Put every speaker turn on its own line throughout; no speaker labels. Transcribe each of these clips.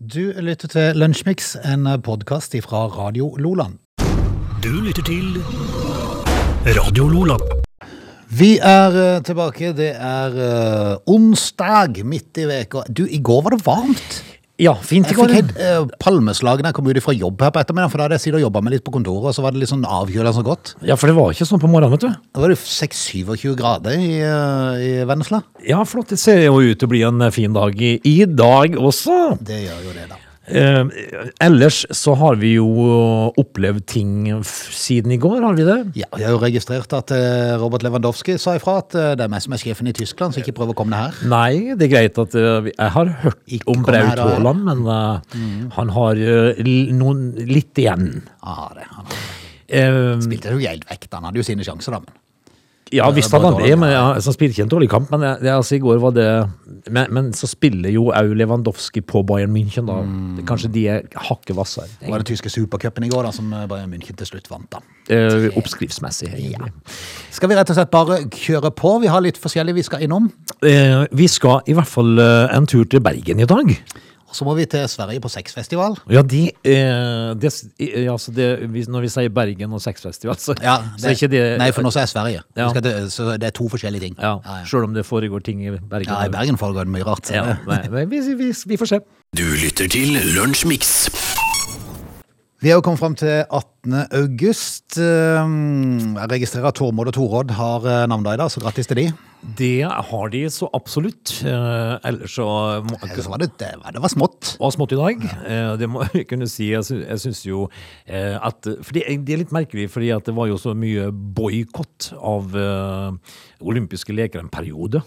Du lytter til Lunsjmix, en podkast fra Radio Loland.
Du lytter til Radio Lola.
Vi er eh, tilbake. Det er eh, onsdag midt i veka. Du, i går var det varmt.
Ja, fint i
Jeg
går.
fikk helt eh, palmeslag da jeg kom ut fra jobb her på ettermiddagen, for da hadde jeg sittet og jobba meg litt på kontoret, og så var det litt sånn avkjøla så godt.
Ja, for det var ikke sånn på morgenen, vet du.
Da var det 26-27 grader i, eh, i Vennesla.
Ja, flott. Det ser jo ut til å bli en fin dag i, i dag også.
Det gjør jo det, da.
Eh, ellers så har vi jo opplevd ting f- siden i går, har vi det?
Ja, jeg har jo registrert at eh, Robert Lewandowski sa ifra at eh, det er meg som er sjefen i Tyskland, så ikke prøv å komme ned her.
Nei, det er greit at eh, vi- jeg har hørt
Ikke
om
kom her
Braut
da.
Haaland, men eh, han har eh, l- noen litt igjen.
Ah, det, han
Eh,
spilte jo helt vekk, da. han hadde jo sine sjanser, da. Men.
ja,
det
visst
er
hadde han
Braut
det,
Haaland,
men ja, altså, han spilte ikke en dårlig kamp. Men eh, det, altså, i går var det Men, men så spiller jo au Lewandowski på Bayern München, da. Kanskje de er hakket hvassere.
Det var den tyske supercupen i går, da, som eh, Bayern München til slutt vant. da.
Eh, oppskriftsmessig, egentlig.
Skal vi rett og slett bare kjøre på? Vi har litt forskjellig vi skal innom.
Eh, vi skal i hvert fall eh, en tur til Bergen i dag.
Og så må vi til Sverige på sexfestival.
Ja, de, eh, det, s- i- ja, altså det, hvis- Når vi sier Bergen og sexfestival, så, så er ikke det
Nei, for nå så er jeg Sverige.
Ja.
Vi skal til, så det er to forskjellige ting.
ja,
ja, ja.
Selv om det foregår ting i Bergen.
Ja, I Bergen foregår det mye rart. så
Ja,
det-
nei, nei, vi, vi, vi får se.
Du lytter til Lunsjmix.
Vi er jo kommet fram til 18. august. Ehm, Jeg registrerer at Tormod og Torodd har eh, navnedag i dag, så grattis til de.
Det har de så absolutt. Eh, ellers så må,
Så var det, det var- det var smått.
var smått i dag. Eh, Det må jeg kunne si. Jeg sy- jeg syns jo eh, at For det det er litt merkelig, fordi at det var jo så mye boikott av eh, olympiske leker en periode.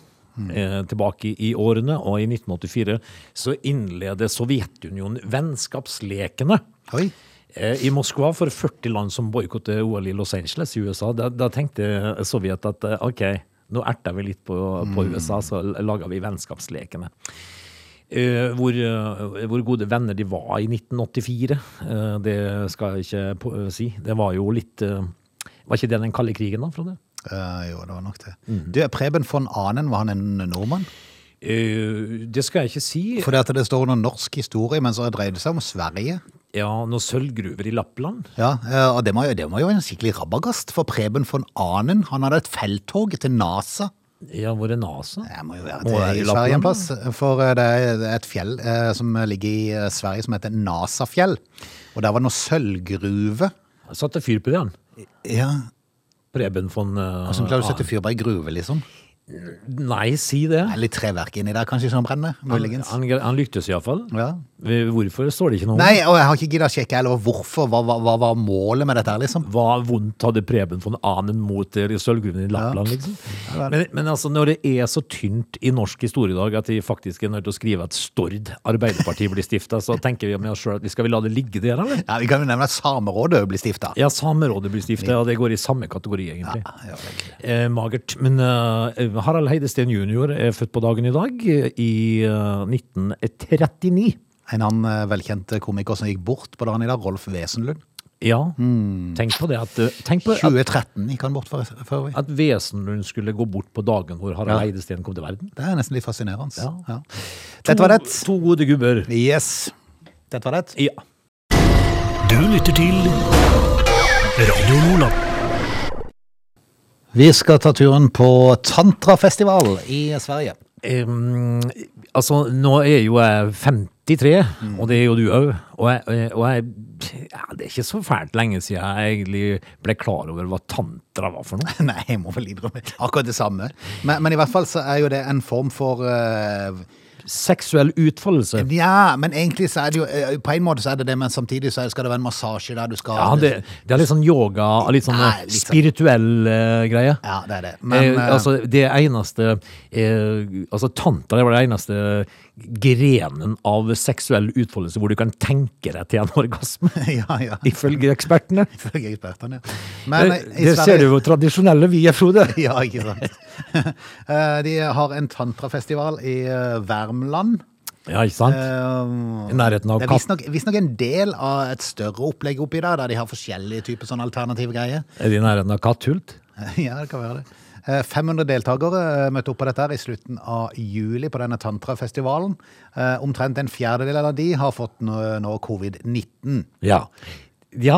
eh, Tilbake i årene, og i 1984 så innleder Sovjetunionen vennskapslekene
Oi.
eh, i Moskva for 40 land som boikotter OL i Los Angeles i USA. Da, da tenkte Sovjet at eh, OK, nå erter vi litt på,
Mm.
på USA, så l- lager vi vennskapslekene. Eh, hvor, eh, hvor gode venner de var i 1984, eh, det skal jeg ikke på, si. Det var jo litt eh, Var ikke det den kalde krigen, da, Frode?
Eh, jo, det var nok det.
Mm.
Du, Preben von Anen, var han en nordmann?
Eh, det skal jeg ikke si.
Fordi at det står noe norsk historie, men så dreier det seg om Sverige.
Ja, noen sølvgruver i Lappland.
Ja, eh, og det var, jo, det var jo en skikkelig rabagast, for Preben von Anen, han hadde et felttog til NASA.
Ja, hvor er NASA?
Det må jo være
Må være
til
i
i Sverige
Lappland,
en plass, for eh, det er det er et fjell eh, som ligger i eh, Sverige som heter NASA-fjell. Og der var det noe sølvgruve.
Satte fyr på den.
Ja,
Preben von eh, Ah,
som Altså, klarer å sette fyr på ei gruve, liksom.
Nei, si det.
Det er litt treverk inni der, kanskje, som brenner, muligens.
Han, han, han lyktes iallfall.
Ja.
Hvorfor står det ikke noe? om?
Nei, og jeg har ikke giddet å sjekke heller hvorfor, hva, hva, hva var målet med dette her, liksom?
Hva vondt hadde Preben von Ahnen mot eh, sølvgruven i Lappland, liksom?
Ja,
Men, men altså, når det er så tynt i norsk historie i dag at de faktisk er nødt til å skrive at Stord Arbeiderparti blir stifta, så tenker vi med oss sjøl at vi skal vi la det ligge der, eller?
Ja, vi kan jo nevne at Samerådet jo ble stifta.
Ja, Samerådet blir stifta, og det går i samme kategori, egentlig.
Ja, vel.
Eh, magert. Men eh, Harald Heidesteen jr. er født på dagen i dag, eh, i eh, 1939.
En annen eh, velkjent komiker som gikk bort på dagen i dag, Rolf Wesenlund.
Ja,
Hmm.
tenk på det at eh, Tenk på at
2013 gikk han bort for, for øvrig.
At Wesenlund skulle gå bort på dagen hvor Harald Eidesteen kom til verden.
Det er nesten litt fascinerende.
Ja.
Ja. Dette var det.
To, to gode gubber.
Yes. Dette var det.
Ja.
Du lytter til Radio Lola.
Vi skal ta turen på tantrafestival i Sverige.
Em, altså, nå er jo jeg 53,
Mm.
og det er jo du òg. Og, jeg, og jeg, ja, det er ikke så fælt lenge siden jeg egentlig ble klar over hva tantra var for noe.
Nei, jeg må vel innrømme akkurat det samme. Men, men i hvert fall så er jo det en form for eh,
Seksuell utfoldelse.
Ja, men egentlig så er det jo eh, På en måte så er det det, men samtidig så er- skal det være en massasje der du skal
Ja, det, det er litt sånn yoga, litt sånn
Nei,
eh,
litt sånn-
spirituell eh, greie.
Ja, det er det. Men
eh,
eh,
altså, det eneste eh, Altså, tantra det var det eneste grenen av seksuell utfoldelse hvor du kan tenke deg til en orgasme,
eh, Ja, ja.
ifølge ekspertene.
Ifølge ekspertene, ja.
Det,
Men eh, i
det
Sverige-
ser du hvor tradisjonelle vi er, Frode.
Ja, ikke sant. Eh, De har en tantrafestival i eh, Värmland.
Ja, ikke sant?
Eh,
I nærheten av
Det er
Kapp.
visstnok visstnok en del av et større opplegg oppi der, der de har forskjellige typer sånn alternative greier.
Er det i nærheten av Katthult?
ja, det kan være det. Eh, 500 deltakere eh, møtte opp på dette her i slutten av juli på denne tantrafestivalen. Eh, Omtrent en fjerdedel av de har fått nå, nå covid-19.
Ja. Ja,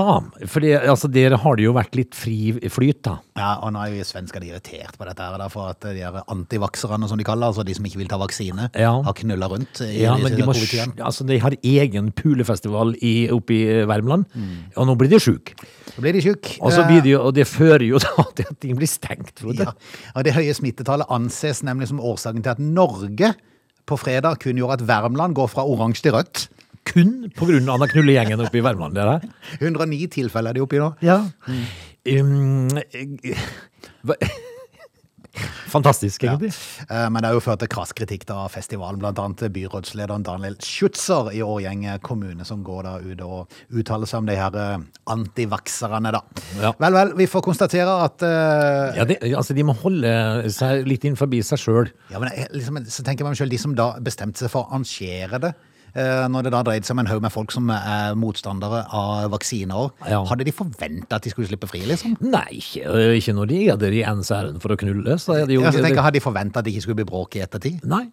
for altså, der har det jo vært litt fri flyt, da.
Ja, og nå er jo svenskene irritert på dette her, da, for at de her antivakserne, som de kaller, altså de som ikke vil ta vaksine,
Ja.
har knulla rundt i
Ja, men de, må,
covid
sj- altså, de har egen pulefestival i, oppe i eh, Värmland,
Mm.
og nå blir de sjuke.
Så blir de sjuke.
Og, så blir de, jo- og det fører jo da til at ting blir stengt, Frode.
Eh, Ja, og Det høye smittetallet anses nemlig som årsaken til at Norge på fredag kunngjorde at Värmland går fra oransje til rødt.
Kun på grunn av den knullegjengen oppe i Värmland, det der.
109 tilfeller er de oppi nå.
Ja. Um, eh, hva- Fantastisk, egentlig.
Eh, Men det har jo ført til krass kritikk da av festivalen, bl.a. til byrådslederen Daniel Schutzer i Årgjeng kommune, som går da ut og uttaler seg om de her eh, antivakserne, da.
Ja.
Vel, vel, vi får konstatere at eh,
Ja, det, altså, de må holde seg litt innenfor seg sjøl.
Ja, men jeg- liksom, så tenker jeg meg selv, De som da bestemte seg for å arrangere det, eh, når det da dreide seg om en haug med folk som er motstandere av vaksiner,
Ja.
hadde de forventa at de skulle slippe fri, liksom?
Nei, ikke, øh, ikke når de er der i ens ærend for å knulle. Så er det jo,
Ja, så tenker jeg, Hadde de forventa at det ikke skulle bli bråk i ettertid?
Nei.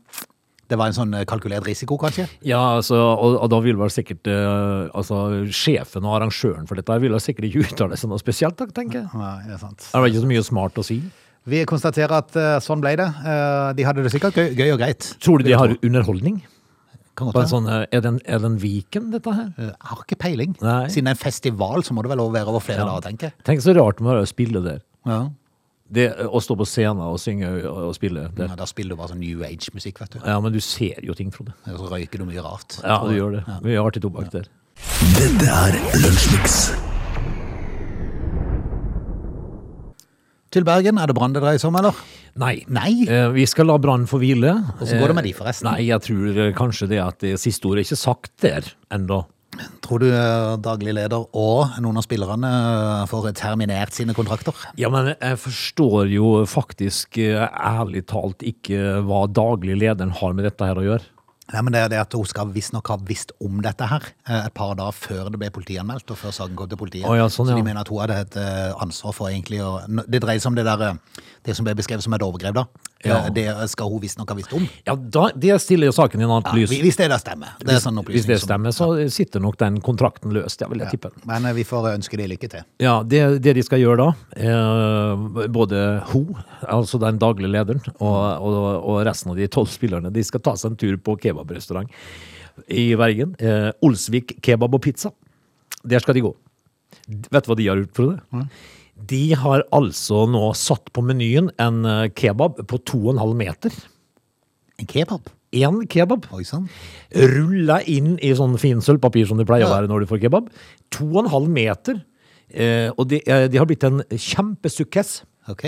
Det var en sånn eh, kalkulert risiko, kanskje?
Ja, altså, og, og da vil vel sikkert eh, altså, sjefen og arrangøren for dette her vil vel sikkert ikke uttale seg noe spesielt, da, tenker jeg.
Nei, det er sant.
Det er vel ikke så mye smart å si.
Vi konstaterer at eh, sånn ble det. Eh, De hadde det sikkert gøy, gøy og greit.
Tror du de har underholdning?
Kan godt
På
være.
en sånn, eh, er, det en, er det en Viken, dette her?
Eh, Jeg har ikke peiling.
Nei.
Siden det er en festival, så må det vel også være over flere dager, tenker jeg.
Tenk så rart med å spille der.
Ja.
Det, å stå på scenen og synge og, og spille der.
Ja, da spiller du bare sånn New Age-musikk, vet du.
Ja, men du ser jo ting, Frode.
Og så røyker du mye rart.
Ja, du gjør det. Mye artig tobakk der.
Dette er Lunsjmix.
Til Bergen, er det brann det dreier seg om, eller?
Nei.
Nei.
Eh, Vi skal la brannen få hvile.
Hvordan går det med de, forresten?
Eh, Nei, jeg tror eh, kanskje det at det siste ordet er ikke sagt der ennå.
Tror du eh, daglig leder og noen av spillerne eh, får terminert sine kontrakter?
Ja, men jeg forstår jo faktisk eh, ærlig talt ikke hva daglig lederen har med dette her å gjøre.
Nei, men det er det at hun skal visstnok ha visst om dette her eh, et par dager før det ble politianmeldt, og før saken kom til politiet.
Å ja, sånn,
Så
ja.
de mener at hun hadde et eh, ansvar for egentlig å n- Det dreier seg om det der eh, Det som ble beskrevet som et overgrep, da.
Ja.
Eh, Det skal hun visstnok ha visst om.
Ja, da, Det stiller jo saken i en annet
Ja,
lys.
vi- hvis det da stemmer. Det er sånn
Hvis det
opplysning som
stemmer, så sitter nok den kontrakten løst, ja, vil jeg tippe.
Men eh, vi får ønske de lykke til.
Ja, det, det de skal gjøre da, eh, både ho, altså den daglige lederen, og, og, og resten av de tolv spillerne, de skal ta seg en tur på kebabrestaurant i Bergen. Eh, Olsvik kebab og pizza. Der skal de gå. D- Vet du hva de har gjort, Frode? De har altså nå satt på menyen en eh, kebab på 2,5 meter.
En kebab?
Én kebab
Oi sånn. sann.
rulla inn i sånn fin sølvpapir som det pleier å
Ja.
være når du får kebab. To og en halv meter. Eh, og det, eh, det har blitt en kjempesukkess.
Ok.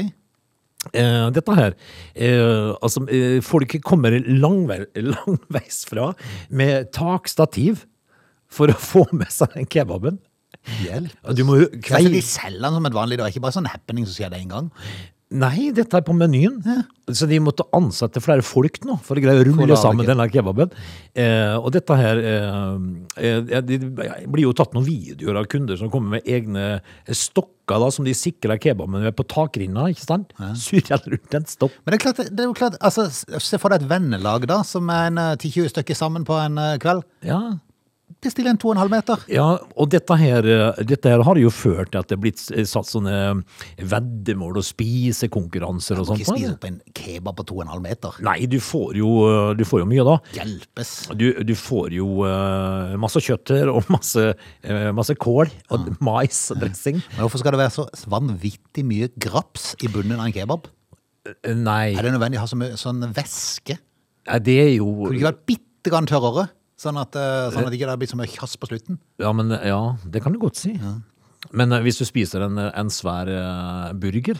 Eh, dette her eh, Altså, eh, folk kommer langvei, langveisfra med takstativ for å få med seg den kebaben.
Hjelp.
Du må jo
Ja, så
kvei...
de selger den som et vanlig, det er ikke bare sånn happening som skjer det en gang.
Nei, dette er på menyen. Så de måtte ansette flere folk nå for å greie å
For å
rulle
lage
sammen
kebab.
denne kebaben. Eh, og dette her eh, eh, Det blir jo tatt noen videoer av kunder som kommer med egne eh, stokker da, som de sikrer kebaben med på takrinna. ikke sant? Surrer rundt en stokk.
Men det er klart, det er jo klart altså, se for deg et vennelag da, som er en eh, 10-20 stykker sammen på en eh, kveld.
Ja,
Bestill en 2,5 meter.
Ja, og dette her, eh, dette her har jo ført til at det er blitt eh, satt sånne eh, veddemål og spisekonkurranser og
Du kan
sånt.
ikke spise opp en kebab på 2,5 meter.
Nei, du får jo, eh, du får jo mye da.
Hjelpes.
Du, du får jo eh, masse kjøtter og masse, eh, masse kål og mais og dressing.
Men hvorfor skal det være så vanvittig mye graps i bunnen av en kebab?
Eh, Nei,
Er det nødvendig å ha så mye sånn væske?
nei, det er jo
Kunne det ikke vært bitte grann tørrere? Sånn at, eh, sånn at det ikke det blir så mye kjass på slutten?
Ja, men, ja det kan du godt si. Men eh, hvis du spiser en, en svær eh, burger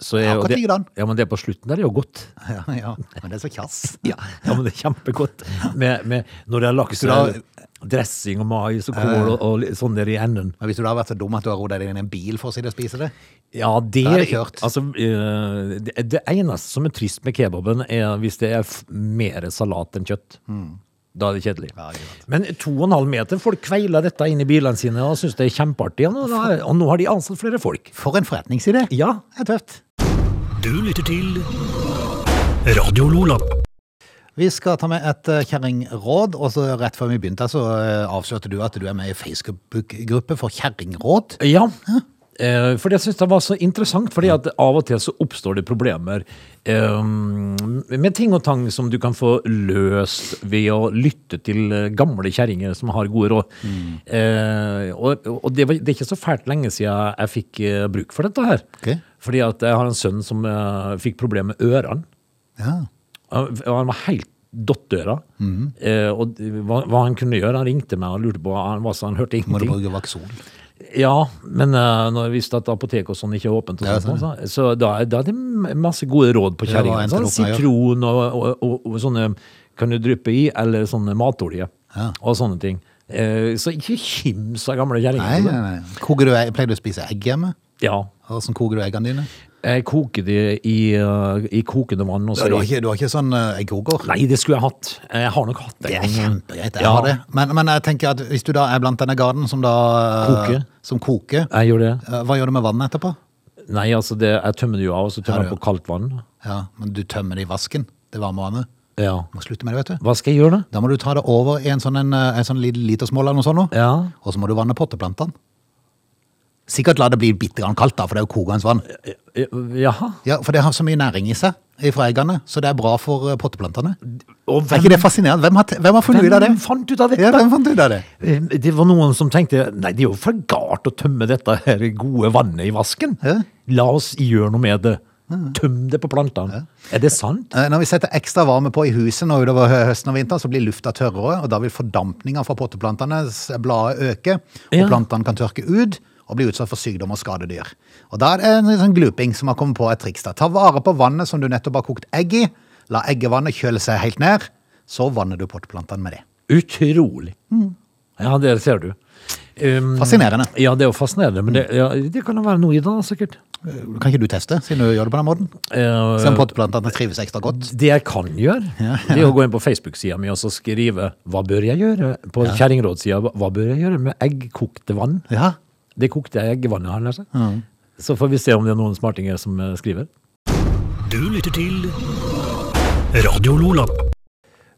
så er, jo
Akkurat
det-
likedan.
Ja, men det på slutten der er jo godt.
Ja, ja. Men det er så kjass.
Ja, ja men det er kjempegodt. Med, med, når det er laks eh,
Skulle
dressing og mais og kål og, og litt sånn der i enden.
Men hvis du da har vært så dum at du har rodd deg inn i en bil for å sitte og spise det?
Ja, det,
Da er det kjørt.
Altså, eh, det, det eneste som er trist med kebaben, er hvis det er f- mer salat enn kjøtt. Da er det kjedelig.
Mm. Ja, ikke sant.
Men to og en halv meter, folk kveiler dette inn i bilene sine og syns det er kjempeartig. Og nå, og nå har de ansatt flere folk.
For en forretningsidé!
Ja,
Det er tøft.
Du lytter til Radio Lola.
Vi skal ta med et eh, kjerringråd, og så rett før vi begynte så eh, avslørte du at du er med i Facebook-gruppe for kjerringråd.
Ja, eh, for jeg synes det var så interessant, fordi at av og til så oppstår det problemer eh, med ting og tang som du kan få løst ved å lytte til eh, gamle kjerringer som har gode råd. Eh, og og det, var, det er ikke så fælt lenge siden jeg fikk eh, bruk for dette her.
Ok.
Fordi at jeg har en sønn som eh, fikk problemer med ørene.
Ja.
Han han var helt dottdøra.
Mhm.
Eh, og hva, hva han kunne gjøre, han ringte meg og lurte på Han, var så, han hørte
Må du
ingenting.
bruke Vaxol?
Ja, men eh, når jeg visste at apoteket og sånn ikke er åpent, og
Ja,
sånt, så, så da, da er det m- masse gode råd på
Ja, hva
kjerringa.
endte
Sånn,
det opp med, ja?
sitron og, og, og, og sånne kan du dryppe i, eller sånne matolje
Ja.
og sånne ting. Eh, så ikke kims av gamle
Nei, nei,
kjerringer. altså.
nei. Koker du egg? Pleier du å spise egg hjemme?
Ja.
Hvordan koker du eggene dine?
Jeg koker det i, eh, i kokende vann. Og
Du
så
har ikke, du har ikke sånn eh, eggkoker?
Nei, det skulle jeg hatt. Jeg har nok hatt
Det
det.
er kjempegreit. Jeg
Ja.
har det. Men, men jeg tenker at hvis du da er blant denne garden som da eh,
Koker.
Som koker
Jeg gjør det.
eh, hva gjør du med vannet etterpå?
Nei, altså, det, jeg tømmer det jo av, og så tømmer
Ja,
jeg
ja.
på kaldt vann.
Ja, men du tømmer det i vasken. Det varme vannet.
Ja.
Du må slutte med det, vet du.
Hva skal jeg gjøre, da?
Da må du ta det over i en sånn, en, eh, en sånn liten litersmål eller noe sånt. nå.
Ja.
Og så må du vanne potteplantene. Sikkert la det bli bitte grann kaldt, da, for det er jo kokende vann.
Eh, Jaha.
Ja, For det har så mye næring i seg fra eggene, så det er bra for eh, potteplantene.
Og
Er ikke det fascinerende? Hvem har, t- hvem har funnet ut av det?
Hvem fant ut av dette?
Ja, hvem fant ut av det?
Det var noen som tenkte Nei, det er jo for galt å tømme dette her gode vannet i vasken.
Ja.
La oss gjøre noe med det. Tøm det på plantene. Er det sant?
Eh, Når vi setter ekstra varme på i huset nå utover hø- høsten og vinteren, så blir lufta tørrere, og da vil fordampninga fra potteplantenes blader øke, og
Ja.
plantene kan tørke ut og bli utsatt for sykdom og skadedyr. Og da er det en sånn gluping som har kommet på et triks. da. Ta vare på vannet som du nettopp har kokt egg i, la eggevannet kjøle seg helt ned, så vanner du potteplantene med det.
Utrolig. Ja, der ser du. Um,
Mm. Fascinerende.
Ja, det er jo fascinerende, men det, ja, det kan jo være noe i det, da, sikkert.
Kan ikke du teste, siden du gjør det på den måten?
Eh,
Se om potteplantene trives ekstra godt.
det jeg kan gjøre, det er å gå inn på Facebook-sida mi og så skrive 'Hva bør jeg gjøre?' På kjerringrådsida 'Hva bør jeg gjøre med eggkokte vann?'
Ja,
Det kokte eggvannet, har jeg nær sagt. Så får vi se om det er noen smartinger som eh, skriver.
Du lytter til Radio Lola.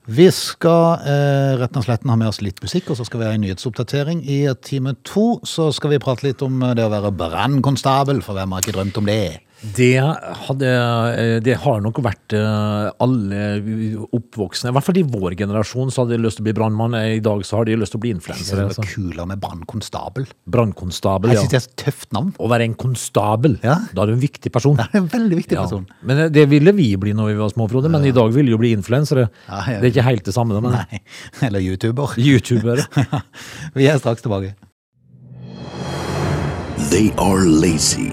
Vi skal eh, rett og slett ha med oss litt musikk, og så skal vi ha en nyhetsoppdatering. I time to så skal vi prate litt om eh, det å være brannkonstabel, for hvem har ikke drømt om det?
Det, hadde, eh, det har nok vært eh, alle oppvoksne, i hvert fall i vår generasjon, så hadde de lyst til å bli brannmann. Eh, I dag så har de lyst til å bli
Det
influensere.
er
Altså.
kulere med brannkonstabel.
Brannkonstabel,
Jeg
ja.
syns det er et tøft navn.
Å være en konstabel,
Ja.
da er du en viktig person.
Det er en veldig viktig
Ja.
person.
Men eh, det ville vi bli når vi var små, Frode, men i dag ville jo bli influensere.
Ja, ja.
Det er ikke helt det samme, men
Nei, eller YouTuber.
youtubere.
Vi er straks tilbake.
They are lazy.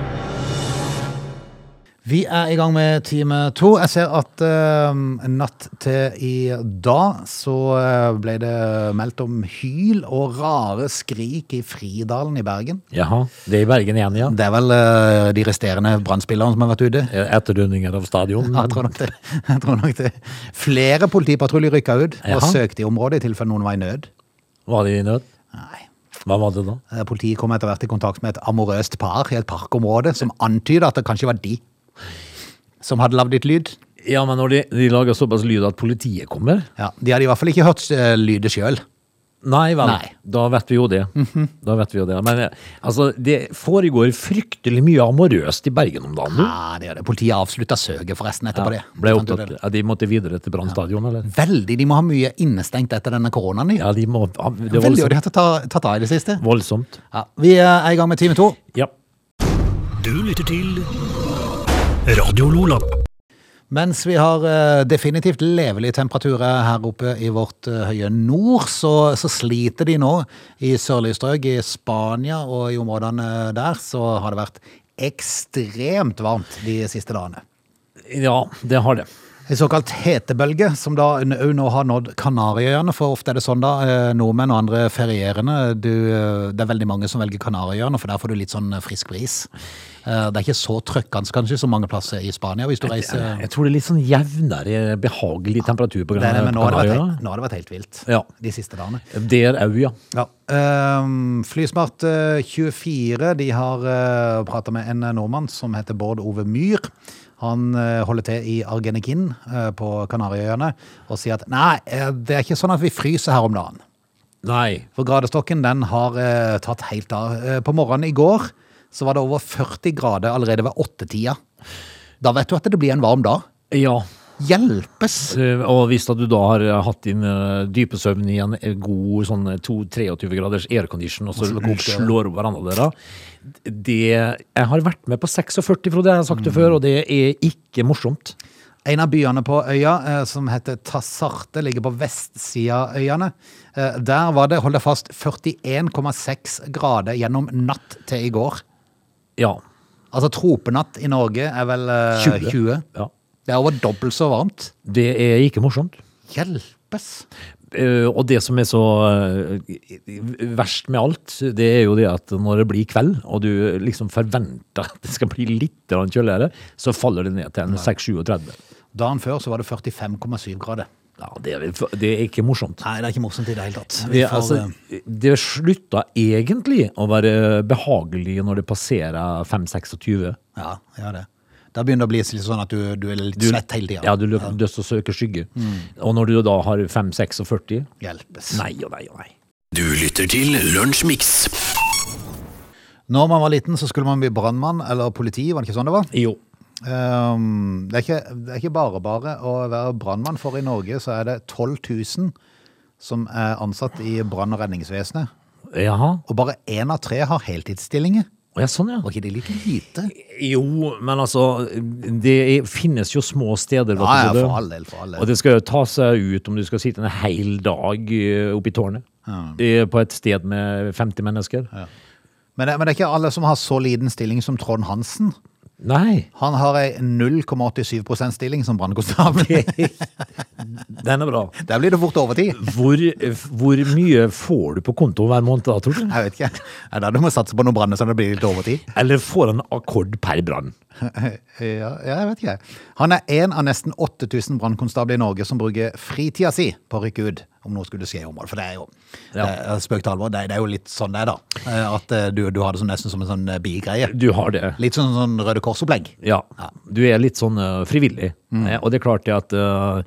Vi er i gang med time to. Jeg ser at eh, natt til i dag så eh, ble det meldt om hyl og rare skrik i Fridalen i Bergen.
Jaha, det er i Bergen igjen, ja.
Det er vel eh, de resterende brannspillerne som har vært ute.
Etterdønninger Eh, av stadion.
Ja, Jeg tror nok det. Jeg tror nok det. Flere politipatruljer rykka ut og
Jaha.
søkte i området i tilfelle noen var i nød.
Var de i nød?
Nei.
Hva var det da?
Eh, Politiet kom etter hvert i kontakt med et amorøst par i et parkområde som antyda at det kanskje var de som hadde lagd litt lyd.
Ja, men når de, de lager såpass lyd at politiet kommer?
Ja, De hadde i hvert fall ikke hørt eh, lydet sjøl.
Nei vel,
Nei. Mhm.
da vet vi jo det. Da vet vi jo det. Men eh, altså, det foregår fryktelig mye amorøst i Bergen om dagen. du.
Ja, det gjør det. Politiet avslutta søket forresten etterpå Ah, det.
Ble
Fant ut
opptatt, ja, de måtte videre til Brann stadion, eller?
det. Veldig. De må ha mye innestengt etter denne koronaen. Ja,
Ja, de må ja, Det
Veldig,
er
og
voldsomt.
de har tatt, tatt av i det siste.
voldsomt.
Ja, vi eh, er i gang med time to.
Ja.
Du lytter til Radio Lola.
Mens vi har eh, definitivt levelige temperaturer her oppe i vårt eh, høye nord, så, så sliter de nå i sørlige strøk. I Spania og i områdene der så har det vært ekstremt varmt de siste dagene.
ja, det har det.
Eh, En såkalt hetebølge, som da n- òg nå har nådd Kanariøyene. For ofte er det sånn, da. eh, Nordmenn og andre ferierende. Du, eh, det er veldig mange som velger Kanariøyene, for der får du litt sånn eh, frisk bris. Eh, Det er ikke så trøkkende, kanskje, som mange plasser i Spania. Hvis du reiser
Jeg tror det er litt sånn jevnere, behagelig temperatur på
det er det, men nå har det, vært
Kanariøyene.
helt, nå har det vært helt vilt
Ja.
de siste dagene.
Der òg, ja.
Ja. ehm, Flysmart eh, 24 de har uh, prata med en nordmann som heter Bård Ove Myhr. Han eh, holder til i Argenikin eh, på Kanariøyene og sier at nei, eh, det er ikke sånn at vi fryser her om dagen.
Nei.
For gradestokken den har eh, tatt helt av. Eh, på morgenen i går så var det over 40 grader allerede ved åttetida. Da vet du at det blir en varm dag.
Ja.
Hjelpes!
Eh, Og hvis at du da har eh, hatt din eh, dype søvn i en eh, god sånn eh, to- 23 graders aircondition, og så
Og så går opp døra.
slår opp hverandre døra det, Jeg har vært med på 46, Frode, jeg har sagt det før, og det er ikke morsomt.
En av byene på øya, eh, som heter Tassarte, ligger på vestsida av øyene. Eh, Der var det, hold deg fast, 41,6 grader gjennom natt til i går.
Ja.
Altså tropenatt i Norge er vel eh,
20.
20.
ja.
Det er over dobbelt så varmt.
Det er ikke morsomt.
Hjelpes!
Eh, og det som er så eh, verst med alt, det er jo det at når det blir kveld, og du liksom forventer at det skal bli litt grann kjøligere, så faller det ned til en 6-37.
Dagen før så var det 45,7 grader.
Ja, det er, det er ikke morsomt.
Nei, det er ikke morsomt i det hele tatt. Vi
Det,
får,
altså,
eh,
det slutta egentlig å være behagelig når det passerer 5-26.
ja, ja, det. Da begynner det å bli sånn at du, du er litt svett hele tida.
Ja, du løper døst og søker skygge.
Mm.
Og når du da har 5-46
Hjelpes.
Nei og nei og nei.
Du lytter til Lunsjmix.
Når man var liten, så skulle man bli brannmann eller politi, var det ikke sånn det var?
Jo.
Ehm, det, er ikke, det er ikke bare bare å være brannmann, for i Norge så er det 12 000 som er ansatt i brann- og redningsvesenet.
Jaha.
Og bare én av tre har heltidsstillinger.
Å, Ja, sånn, ja.
Var ikke det litt lite?
Jo, men altså, det er, finnes jo små steder. vet du,
Ja, ja,
Frode.
for all del. For all
Og
del.
det skal jo ta seg ut om du skal sitte en hel dag eh, oppe i tårnet. Eh, På et sted med 50 mennesker.
Men, det, men det er ikke alle som har så liten stilling som Trond Hansen.
Nei,
Han har ei 0,87 %-stilling som brannkonstabel.
den er bra.
Der blir det fort overtid.
Hvor, hvor mye får du på konto hver måned da, tror du?
Jeg vet ikke. Det er da du må satse på noe brann, så det blir litt overtid.
Eller får han akkord per brann?
Ja, ja, jeg vet ikke. Han er en av nesten 8000 brannkonstabler i Norge som bruker fritida si på å rykke ut om noe skulle skje i området. For det er jo
Ja.
eh, spøk til alvor. Det, det er jo litt sånn det er, da. Eh, At eh, du, du har det som, nesten som en sånn eh, bigreie.
Du har det.
Litt sånn, sånn Røde Kors-opplegg.
Ja. Du er litt sånn eh, frivillig. Eh, og det er klart det at uh,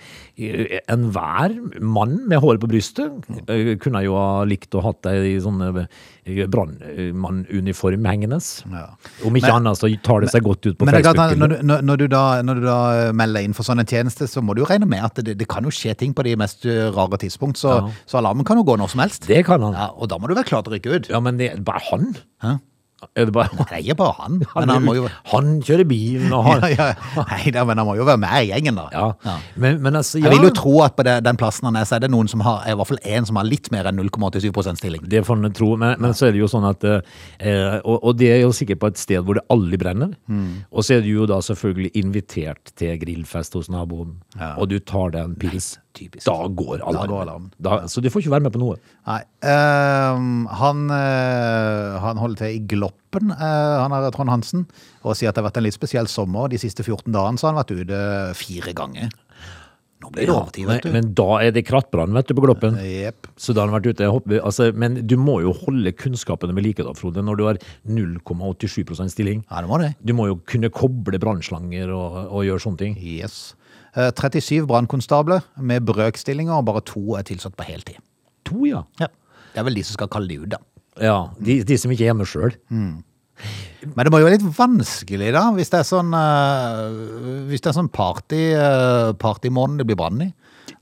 enhver mann med håret på brystet eh, kunne jo ha likt å hatt ei sånn eh, brannmannuniform hengende.
Ja.
Om ikke annet så tar det seg godt ut på
Men det er klart, at
Facebook.
når, du- når, når, du da, når du da eh, melder inn for sånne tjenester, så må du jo regne med at det, det kan jo skje ting på de mest eh, rare tidspunkt, så,
Ja.
så alarmen kan jo gå når som helst.
Det kan han. Ja,
Ja, og da må du være klar til å rykke ut.
men det er bare han.
Hæ?
Er det bare,
Det er ikke bare han,
han,
men han må jo
han kjører bilen og han
ja, ja. Nei, da, men han må jo være med i gjengen, da.
Ja.
Ja.
Men, men altså, ja,
Jeg vil jo tro at på det, den plassen han er, så er det noen som har, i hvert fall én som har litt mer enn 0,87 %-stilling.
det får en tro, men, men så er det jo sånn at eh, og, og det er jo sikkert på et sted hvor det aldri brenner. Og så er du jo da selvfølgelig invitert til grillfest hos naboen, og du tar deg en pils. Da går alarmen.
går alarmen.
Da, så du får ikke være med på noe.
Nei. ehm, han, eh, han holder til i Gloppen, eh, han her Trond Hansen, og sier at det har vært en litt spesiell sommer. De siste 14 dagene så har han vært ute fire ganger. Nå blir det overtid, vet
men,
du.
men da er det krattbrann, vet du, på Gloppen.
Jepp.
Så da har han vært ute hoppe, altså, Men du må jo holde kunnskapene ved like, da, Frode, når du har 0,87 stilling.
Ja, det må det.
Du må jo kunne koble brannslanger og, og gjøre sånne ting.
Yes. Eh, 37 brannkonstabler med brøkstillinger, og bare to er tilsatt på heltid.
To, ja.
Ja. Det er vel de som skal kalle de ut, da.
Ja, de, de som ikke er hjemme sjøl.
Men det må jo være litt vanskelig da, hvis det er sånn, eh, hvis det er sånn party, eh, partymåned det blir brann i.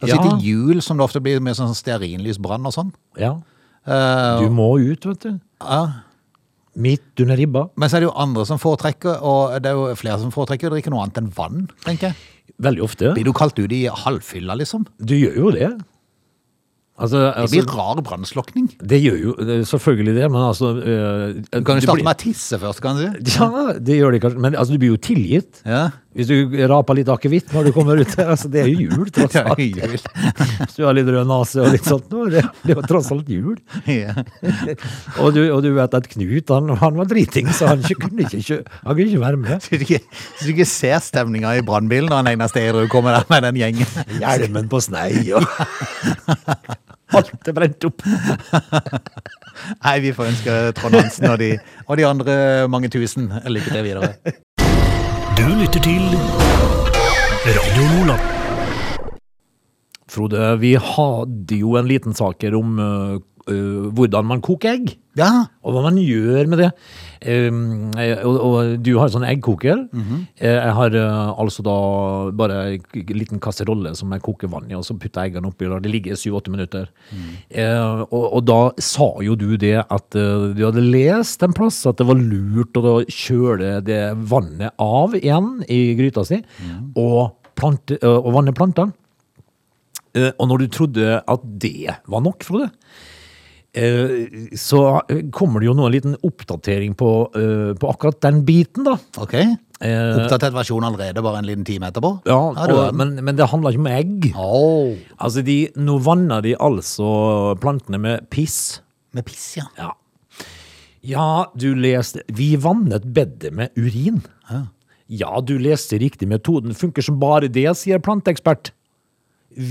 Det
Ja.
sitter jul som det ofte blir med sånn stearinlysbrann og sånn.
Ja.
Eh,
Du må ut, vet du.
ja.
Midt under ribba.
Men så er det jo andre som foretrekker, og det er jo flere som foretrekker å drikke noe annet enn vann, tenker jeg.
Veldig ofte.
Blir du kalt ut i halvfylla, liksom?
Du gjør jo det. Altså,
Det
altså
blir rar brannslokning.
Det gjør jo det- selvfølgelig det, men altså eh,
Du kan jo
det
starte
blir-
med å tisse først, kan du si.
Ja, det gjør det kanskje, men altså, du blir jo tilgitt.
Ja.
Hvis du raper litt akevitt når du kommer ut her, altså det er jo jul, tross
Ja,
alt.
jul.
Hvis du har litt rød nase og litt sånt, nå, det det er jo tross alt jul.
Ja.
Og du, og du vet at Knut han, han var driting, så han ikke- kunne ikke, kjø- han kunne ikke være med.
Så du ikke, så du ikke ser stemninga i brannbilen når han Einar Steirud kommer der med den gjengen.
Hjelmen på snei og Alt er brent opp.
Nei, vi får ønske Trond Hansen og de, og de andre mange tusen lykke til videre.
Du lytter til Radio Lola.
Frode, vi hadde jo en liten sak her om øh, øh, hvordan man koker egg.
Ja,
Og hva man gjør med det. Um, eh, og, og du har sånn eggkoker. Eh, Jeg har eh, altså da bare en k- liten kasserolle som jeg koker vann i, og så putter jeg eggene oppi. og Det ligger 7-8 minutter. Eh, og, og da sa jo du det at eh, du hadde lest en plass at det var lurt å da kjøle det vannet av igjen i gryta si, og, plante, eh, og vanne plantene. Eh, Og når du trodde at det var nok, Frode, Eh, så kommer det jo nå en liten oppdatering på, eh, på akkurat den biten, da.
ok.
Eh,
Oppdatert versjon allerede, bare en liten time etterpå.
ja,
du
og, men, men det handler ikke om egg.
Au.
Altså, de, nå vanner de altså plantene med piss.
Med piss, ja.
Ja. ja, du leste Vi vannet bedet med urin. Ja, du leste riktig. Metoden funker som bare det, sier planteekspert.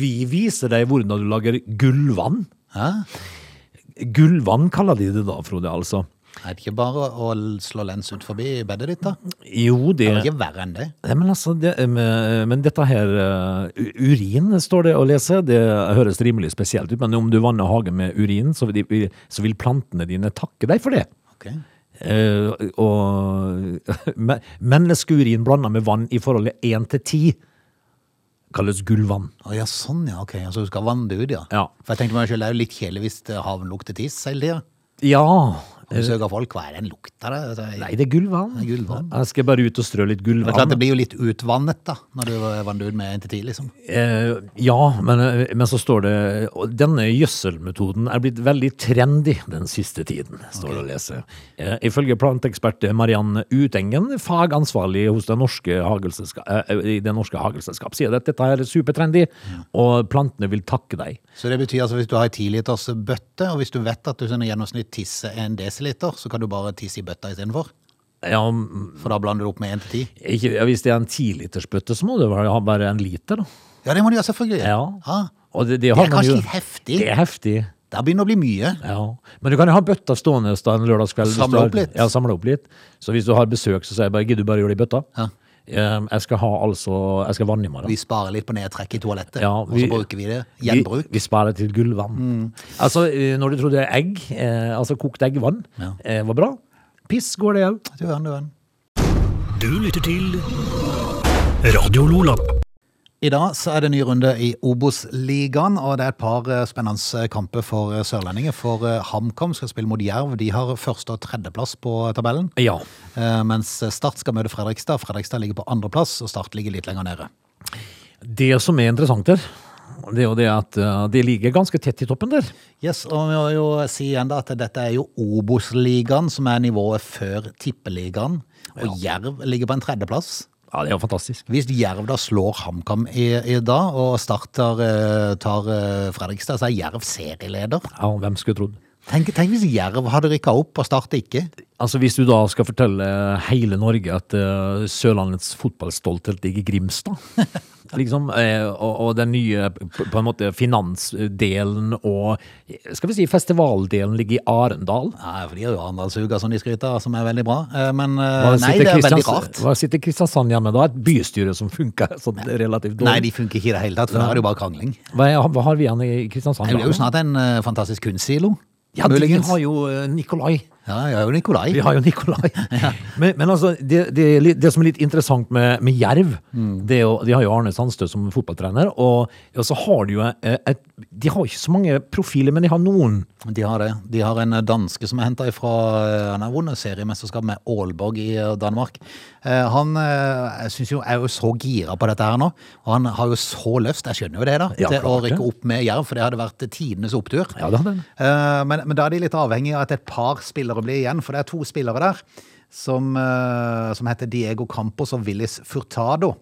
Vi viser deg hvordan du lager gullvann.
Hæ?
Gullvann kaller de det da, Frode, altså.
Er det ikke bare å l- slå lens ut forbi bedet ditt, da? Det
Jo, det
er ikke verre enn det.
Nei, men altså, det, men men dette her eh, u- Urin står det å lese. Det høres rimelig spesielt ut, men om du vanner hagen med urin, så vil, de, så vil plantene dine takke deg for det.
Ok.
Eh, og men- Menneskeurin blanda med vann i forholdet 1 til 10 kalles gullvann.
Å ja, sånn ja, ok. Altså, du skal vanne det ut, ja.
Ja.
For jeg tenkte meg selv, det er jo litt kjedelig hvis det havn lukter tiss hele tida.
Ja
Besøker folk, hva er den lukta der? Altså,
Nei, det er gullvann.
Eh. Det er gullvann.
Jeg skal bare ut og strø litt
Men det er klart det
gullvann.
blir jo litt utvannet da, når du eh, vanner det ut med en til ti, liksom.
Eh, ja, men, eh, men så står det og Denne gjødselmetoden er blitt veldig trendy den siste tiden, står det å lese. Eh, ifølge planteekspert Mariann Utengen, fagansvarlig hos det norske hagelselska- eh, eh, i Det Norske Hagelselskap, sier at dette er supertrendy, og plantene vil takke deg.
Så det betyr altså hvis du har en 10 liters bøtte, og hvis du vet at du sånn i gjennomsnitt tisser en desiliter, så kan du bare tisse i bøtta istedenfor?
Ja, mm,
For da blander du opp med 1 til 10?
ikke, ja, hvis det er en tilitersbøtte, så må det være- ha bare en liter, da.
Ja, det må du gjøre, selvfølgelig.
Ja.
Ja.
Og det, det,
Det
har
er
man
kanskje
jo-
litt heftig.
Det er heftig.
Det begynner å bli mye.
Ja, Men du kan jo ha bøtta stående da en lørdagskveld. hvis
Samle
du har-
opp litt.
Ja, samle opp litt. Så hvis du har besøk, så sier jeg bare gidder du bare gjøre det i bøtta?
Ja.
Ehm, Jeg skal ha altså Jeg skal vanne i morgen.
Vi sparer litt på nedtrekk i toalettet,
Ja,
og så bruker vi det.
Vi,
Gjenbruk. Mm.
vi sparer til gullvann. Altså, eh, når du trodde egg, eh, altså kokt eggvann,
Ja.
eh, var bra. Piss går det òg.
Du hører, du hører.
Du lytter til Radio Lola.
I dag så er det ny runde i Obos-ligaen, og det er et par eh, spennende kamper for eh, sørlendinger. For eh, HamKam skal spille mot Jerv. De har første- og tredjeplass på tabellen.
Ja.
Eh, Mens Start skal møte Fredrikstad. Fredrikstad ligger på andreplass, og Start ligger litt lenger nede.
Det som er interessant der, det er jo det at eh, det ligger ganske tett i toppen der.
Yes, og vi må jo si igjen da at dette er jo Obos-ligaen, som er nivået før Tippeligaen. Og Jerv ligger på en tredjeplass.
Ja, det er jo fantastisk.
Hvis Jerv da slår HamKam i, i dag, og starter eh, tar eh, Fredrikstad, så er Jerv serieleder.
Ja, hvem skulle trodd?
Tenk, tenk hvis Jerv hadde rykka opp og Start ikke.
Altså Hvis du da skal fortelle hele Norge at eh, Sørlandets fotballstolthet ligger i Grimstad liksom, eh, og, og den nye på på en måte finansdelen og skal vi si festivaldelen ligger i Arendal.
Nei, for de har jo Arendalsuka som de skryter av, som er veldig bra. Eh, Men eh,
Hva
nei,
sitter
det er veldig
Kristians-
rart.
Hva sitter Kristiansand hjemme da? Et bystyre som funker sånn relativt
Nei,
dårlig.
de funker ikke i det hele tatt, for der er det jo bare krangling.
Hva, er- hva har vi igjen i Kristiansand?
Det
da?
blir jo snart en eh, fantastisk kunstsilo.
ja, de
muligens.
har jo eh, Nikolai.
Ja, jeg har jo Nikolai.
Vi har jo Nikolai. men, men altså, det, det, er litt- det som er litt interessant med, med Jerv,
Mm.
det er jo, de har jo Arne Sandstø som fotballtrener, og, og så har de jo eh, et De har ikke så mange profiler, men de har noen.
De har det. De har en danske som er henta ifra eh, Han har vunnet seriemesterskap med Aalborg i eh, Danmark. Eh, Han eh, jeg synes jo, er jo så gira på dette her nå, og han har jo så lyst, jeg skjønner jo det, da,
Ja,
til å
klart det.
rykke opp med Jerv, for det hadde vært tidenes opptur.
Ja, det hadde det.
Eh, Men, men da er de litt avhengig av at et par spillere blir igjen, for det er to spillere der. som, eh, som heter Diego Campos og Willis Furtado.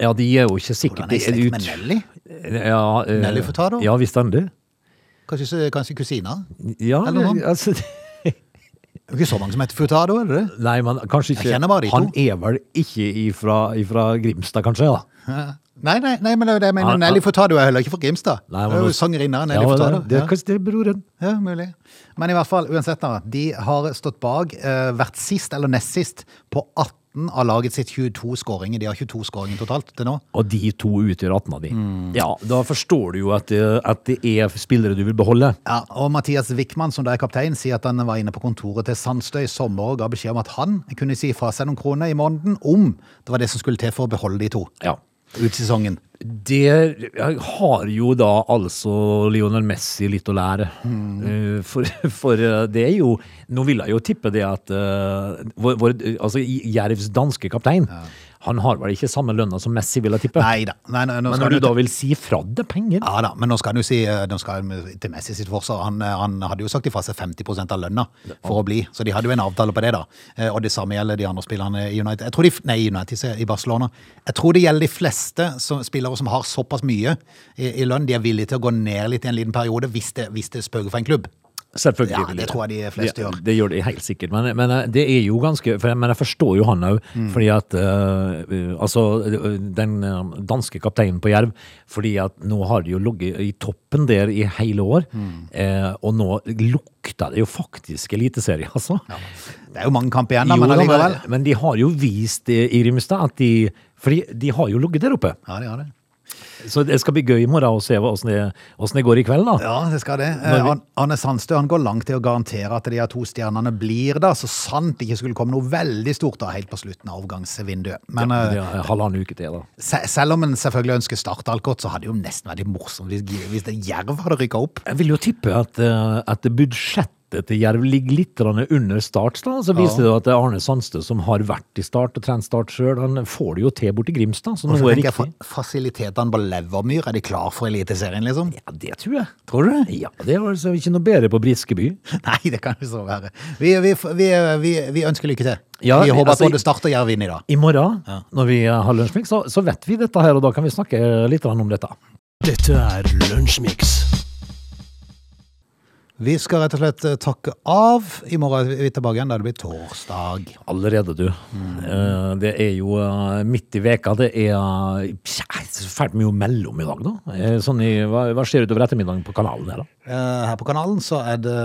Ja, de er jo ikke sikkert
Hvordan er slekt med Nelly?
Ja, eh,
Nelly Furtado?
Ja, visst er det.
Kanskje, kanskje kusina?
Ja,
Eller noe?
altså,
Det er jo ikke så mange som heter Furtado, er det det?
nei, men kanskje ikke.
Jeg kjenner bare de to.
Han er vel ikke ifra, ifra Grimstad, kanskje, da?
Nei, nei, nei, men det er det jeg
Ja, ja.
mener Nelly Furtado er heller ikke fra Grimstad.
Nei,
det er
men- altså-
jo sangerinna Nelly
Ja,
Furtado.
det, det,
Ja.
er kanskje det er broren.
Ja, mulig. Men i hvert fall, uansett, da, de har stått bak, eh, vært sist eller nest sist, på 18 av laget sitt 22 skåringer. De har 22 skåringer totalt til nå.
Og de to utgjør 18 av de. Ja, da forstår du jo at, det- at det er spillere du vil beholde.
Ja, og Mathias Wickman, som da er kaptein, sier at han var inne på kontoret til Sandstøy i sommer og ga beskjed om at han kunne si fra seg noen kroner i måneden om det var det som skulle til for å beholde de to
Ja.
ut sesongen.
Det har jo da altså Lionel Messi litt å lære. Eh, For, for eh, det er jo Nå vil jeg jo tippe det at eh, vår, vår, altså Jervs danske kaptein Han har vel ikke samme lønna som Messi, vil jeg tippe.
Nei da. Nei, nå, nå
Men
skal
når du
han jo
da vil si fra deg penger
Ja da, men nå skal han jo si eh, nå skal han til Messi sitt forsvar. Han, eh, han hadde jo sagt ifra seg 50 av lønna for å bli, så de hadde jo en avtale på det, da. Eh, Og det samme gjelder de andre spillerne i United. Jeg tror de, f- nei, i United, sier jeg, i Barcelona. Jeg tror det gjelder de fleste som, spillere som har såpass mye i, i lønn. De er villige til å gå ned litt i en liten periode hvis det, hvis det spøker for en klubb.
Selvfølgelig.
Ja,
vil
det tror jeg de fleste
det,
gjør.
Det gjør de helt sikkert. Men, men eh, det er jo ganske for jeg, Men jeg forstår jo han òg,
Mm.
fordi at eh, eh, Altså, eh, den eh, danske kapteinen på Jerv, fordi at nå har de jo ligget i toppen der i hele år,
Mm.
eh, og nå lukter det jo faktisk eliteserie, altså.
Det er jo mange kamper igjen, da,
Jo,
men
da,
allikevel.
men, men de har jo vist eh, i Grimstad at de Fordi de har jo ligget der oppe.
Ja, de har det.
Så det skal bli gøy i morgen å se åssen det, hvordan det går i kveld, da.
Ja, det skal det. Eh,
Når vi-
Arn- Arne Sandstø han går langt til å garantere at de her to stjernene blir da, så sant det ikke skulle komme noe veldig stort da, helt på slutten av overgangsvinduet. Men eh,
Det er halvannen uke til, da.
Se- Selv om en selvfølgelig ønsker Start alt godt, så hadde det jo nesten vært litt morsomt hvis, hvis det Jerv hadde rykka opp.
Jeg vil jo tippe at, eh, at budsjettet til Jerv ligger litt grann under Start. da. Så viser det jo at det er Arne Sandstø, som har vært i Start og trent Start sjøl, han får det jo til borti Grimstad. Så
Og
noe
så
er
tenker jeg,
riktig.
fa- Fasilitetene på Levermyr, er de klar for Eliteserien, liksom?
Ja, det tror jeg.
Tror du det?
Ja, det var altså ikke noe bedre på Briskeby.
Nei, det kan jo så være. Vi, vi, vi, vi, vi ønsker lykke til.
Ja,
vi
vi-
håper
altså-
at både Start og Jerv vinner i dag.
I morgen, når vi eh, har lunsjmix, så, så vet vi dette her, og da kan vi snakke litt grann om dette.
Dette er Lunsjmix.
Vi skal rett og slett eh, takke av. I morgen er vi tilbake igjen, da det blir torsdag.
Allerede, du. Eh, Det er jo eh, midt i veka, det er eh, pja, så fælt mye mellom i dag, da. Eh, Sånn i, hva, hva skjer utover ettermiddagen på kanalen her, da?
Eh, Her på kanalen så er det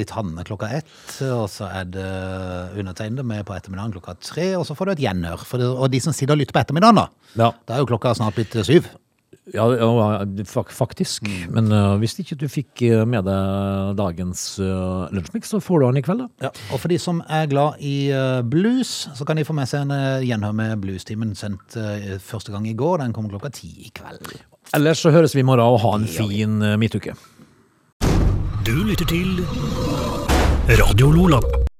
litt Hanne klokka ett, og så er det undertegnede med på ettermiddagen klokka tre, og så får du et gjenhør. For det, og de som sitter og lytter på ettermiddagen, da,
Ja.
da er jo klokka snart blitt syv.
Ja, ja, ja, fak- faktisk. Men øh, hvis ikke du fikk øh, med deg dagens uh, lunsjmix, så får du den i kveld, da.
Og for de som er glad i eh, blues, så kan de få med seg en eh, gjenhør med Bluestimen sendt eh, første gang i går. Den kommer klokka ti i kveld.
Ellers så høres vi i morgen, og ha en eh, fin øh, midtuke.
Du lytter til Radio Lola.